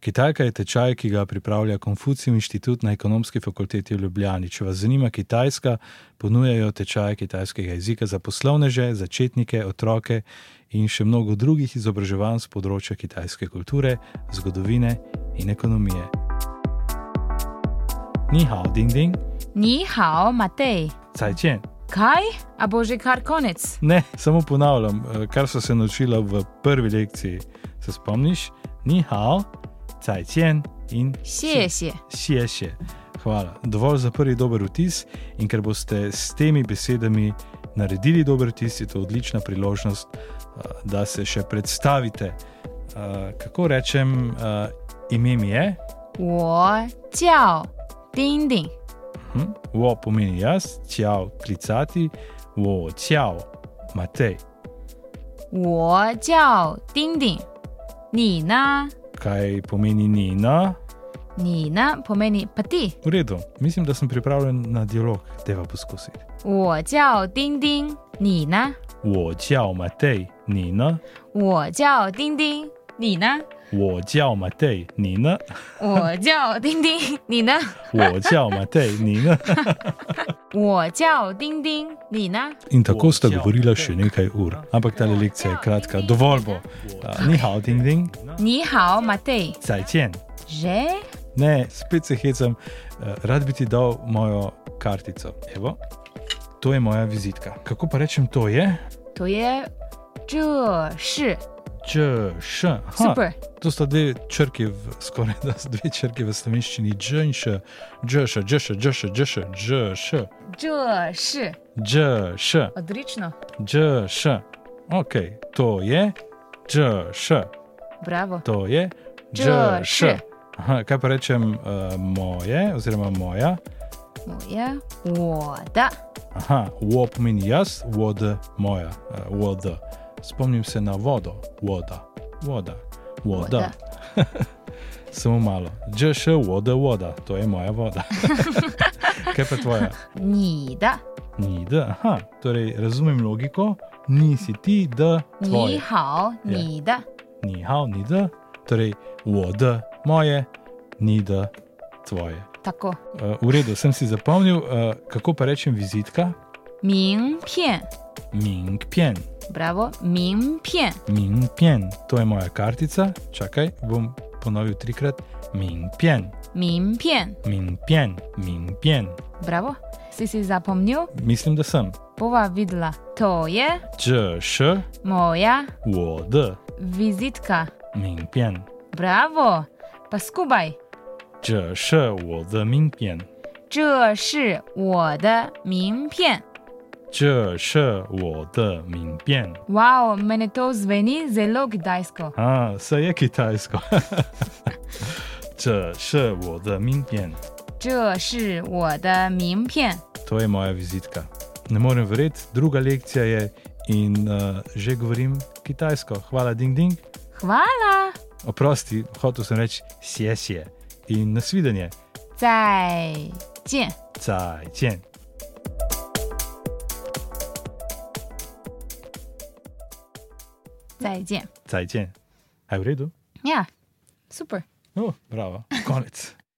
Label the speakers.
Speaker 1: Kitajka je tečaj, ki ga pripravlja Konfucijev inštitut na ekonomski fakulteti v Ljubljani. Če vas zanima Kitajska, ponujajo tečaje kitajskega jezika za poslovneže, začetnike, otroke in še mnogo drugih izobraževanj z področja kitajske kulture, zgodovine in ekonomije. Ni hao, ding ding,
Speaker 2: Ni hao, Matej.
Speaker 1: cajtjen.
Speaker 2: Kaj? A bo že kar konec?
Speaker 1: Ne, samo ponavljam, eh, kar so se naučila v prvi lekciji. Se spomniš, ni hao, cajtjen in
Speaker 2: Še, še.
Speaker 1: Sije še. Hvala. Dovolj za prvi dober vtis in ker boste s temi besedami naredili dober vtis, je to odlična priložnost, eh, da se še predstavite. Eh, Kako rečem, eh, ime mi je,
Speaker 2: 我叫丁丁，
Speaker 1: hm? wo pomeni jaz, ciao klicati, wo ciao, Matej.
Speaker 2: 我叫丁丁。你呢？
Speaker 1: Kaj pomeni Nina?
Speaker 2: 你呢？pomeni pa ti.
Speaker 1: V redu, mislim, da sem pripravljen na dialog, teva poskusiti.
Speaker 2: 我叫丁丁，你呢？
Speaker 1: 我叫 Matej, 你呢？
Speaker 2: 我叫丁丁，你呢？
Speaker 1: 我叫 Matej, 你呢？
Speaker 2: 我叫丁丁，你呢？
Speaker 1: 我叫 Matej, 你呢？
Speaker 2: 我叫丁丁，你呢？
Speaker 1: In tako sta govorila še nekaj ur. Ampak ta lekcija je kratka, dovolj bo. A, Ni hao, ding ding,
Speaker 2: 你好，Matej。
Speaker 1: zajčen.
Speaker 2: Že?
Speaker 1: Ne, spet se hecam, Eh, rad bi ti dal mojo kartico. Evo, to je moja vizitka. Kako pa rečem, to je?
Speaker 2: と耶，这是
Speaker 1: Č, š. Aha,
Speaker 2: super。
Speaker 1: To sta dve črki, v, skoraj da sta dve črki v slovenščini, dž in š, dž, š, dž, š, dž, š, dž, š, dž, š,
Speaker 2: 这是
Speaker 1: dž, š,
Speaker 2: odlično.
Speaker 1: dž, š. Ok, to je dž, š,
Speaker 2: Bravo.
Speaker 1: to je dž,
Speaker 2: Dž, š.
Speaker 1: š. Aha, kaj pa rečem uh, moje, oziroma moja,
Speaker 2: 我呀，我的，
Speaker 1: aha, wo pomeni jaz, vod moja, uh, vod. Spomnim se na vodo, voda, voda, voda.
Speaker 2: Voda.
Speaker 1: Samo malo, dž, š, voda, voda, to je moja voda. Kaj pa tvoja?
Speaker 2: 你的，
Speaker 1: Ni, da, aha, torej razumem logiko, nisi ti, da,
Speaker 2: 你
Speaker 1: tvoje,
Speaker 2: 好，你的，
Speaker 1: ni hao, ni da, torej voda, moje, ni da, tvoje.
Speaker 2: 大哥，
Speaker 1: Uh, v redu, sem si zapomnil, uh, kako pa rečem vizitka,
Speaker 2: 名片
Speaker 1: ming pjen,
Speaker 2: ，bravo，名片，
Speaker 1: ming pjen, to je moja kartica, čakaj, bom ponovil trikrat, ming pjen,
Speaker 2: 名片
Speaker 1: ming pjen, ming pjen,
Speaker 2: ，bravo。Si si zapomnil,
Speaker 1: mislim, da sem,
Speaker 2: bova videla. To je
Speaker 1: dž, š,
Speaker 2: moja
Speaker 1: voda,
Speaker 2: vizitka.
Speaker 1: ming pjen,
Speaker 2: Bravo, pa skupaj.
Speaker 1: dž, š, voda, ming pjen.
Speaker 2: 这是我的名片。
Speaker 1: 这是我的名片
Speaker 2: Wow, meni to zveni zelo gdajsko.
Speaker 1: 啊，这也 Kitajsko。这是我的名片，
Speaker 2: 这是我的名片。
Speaker 1: to je moja vizitka. Ne morem verjeti, druga lekcija je in uh, že govorim kitajsko. Hvala, ding ding.
Speaker 2: Hvala,
Speaker 1: Oprosti, hotel sem reči sjesje in nasvidenje.
Speaker 2: 再见。
Speaker 1: Zajčen.
Speaker 2: Zajdijem.
Speaker 1: Zajčen. Aj v redu?
Speaker 2: Ja, super.
Speaker 1: No, bravo, konec.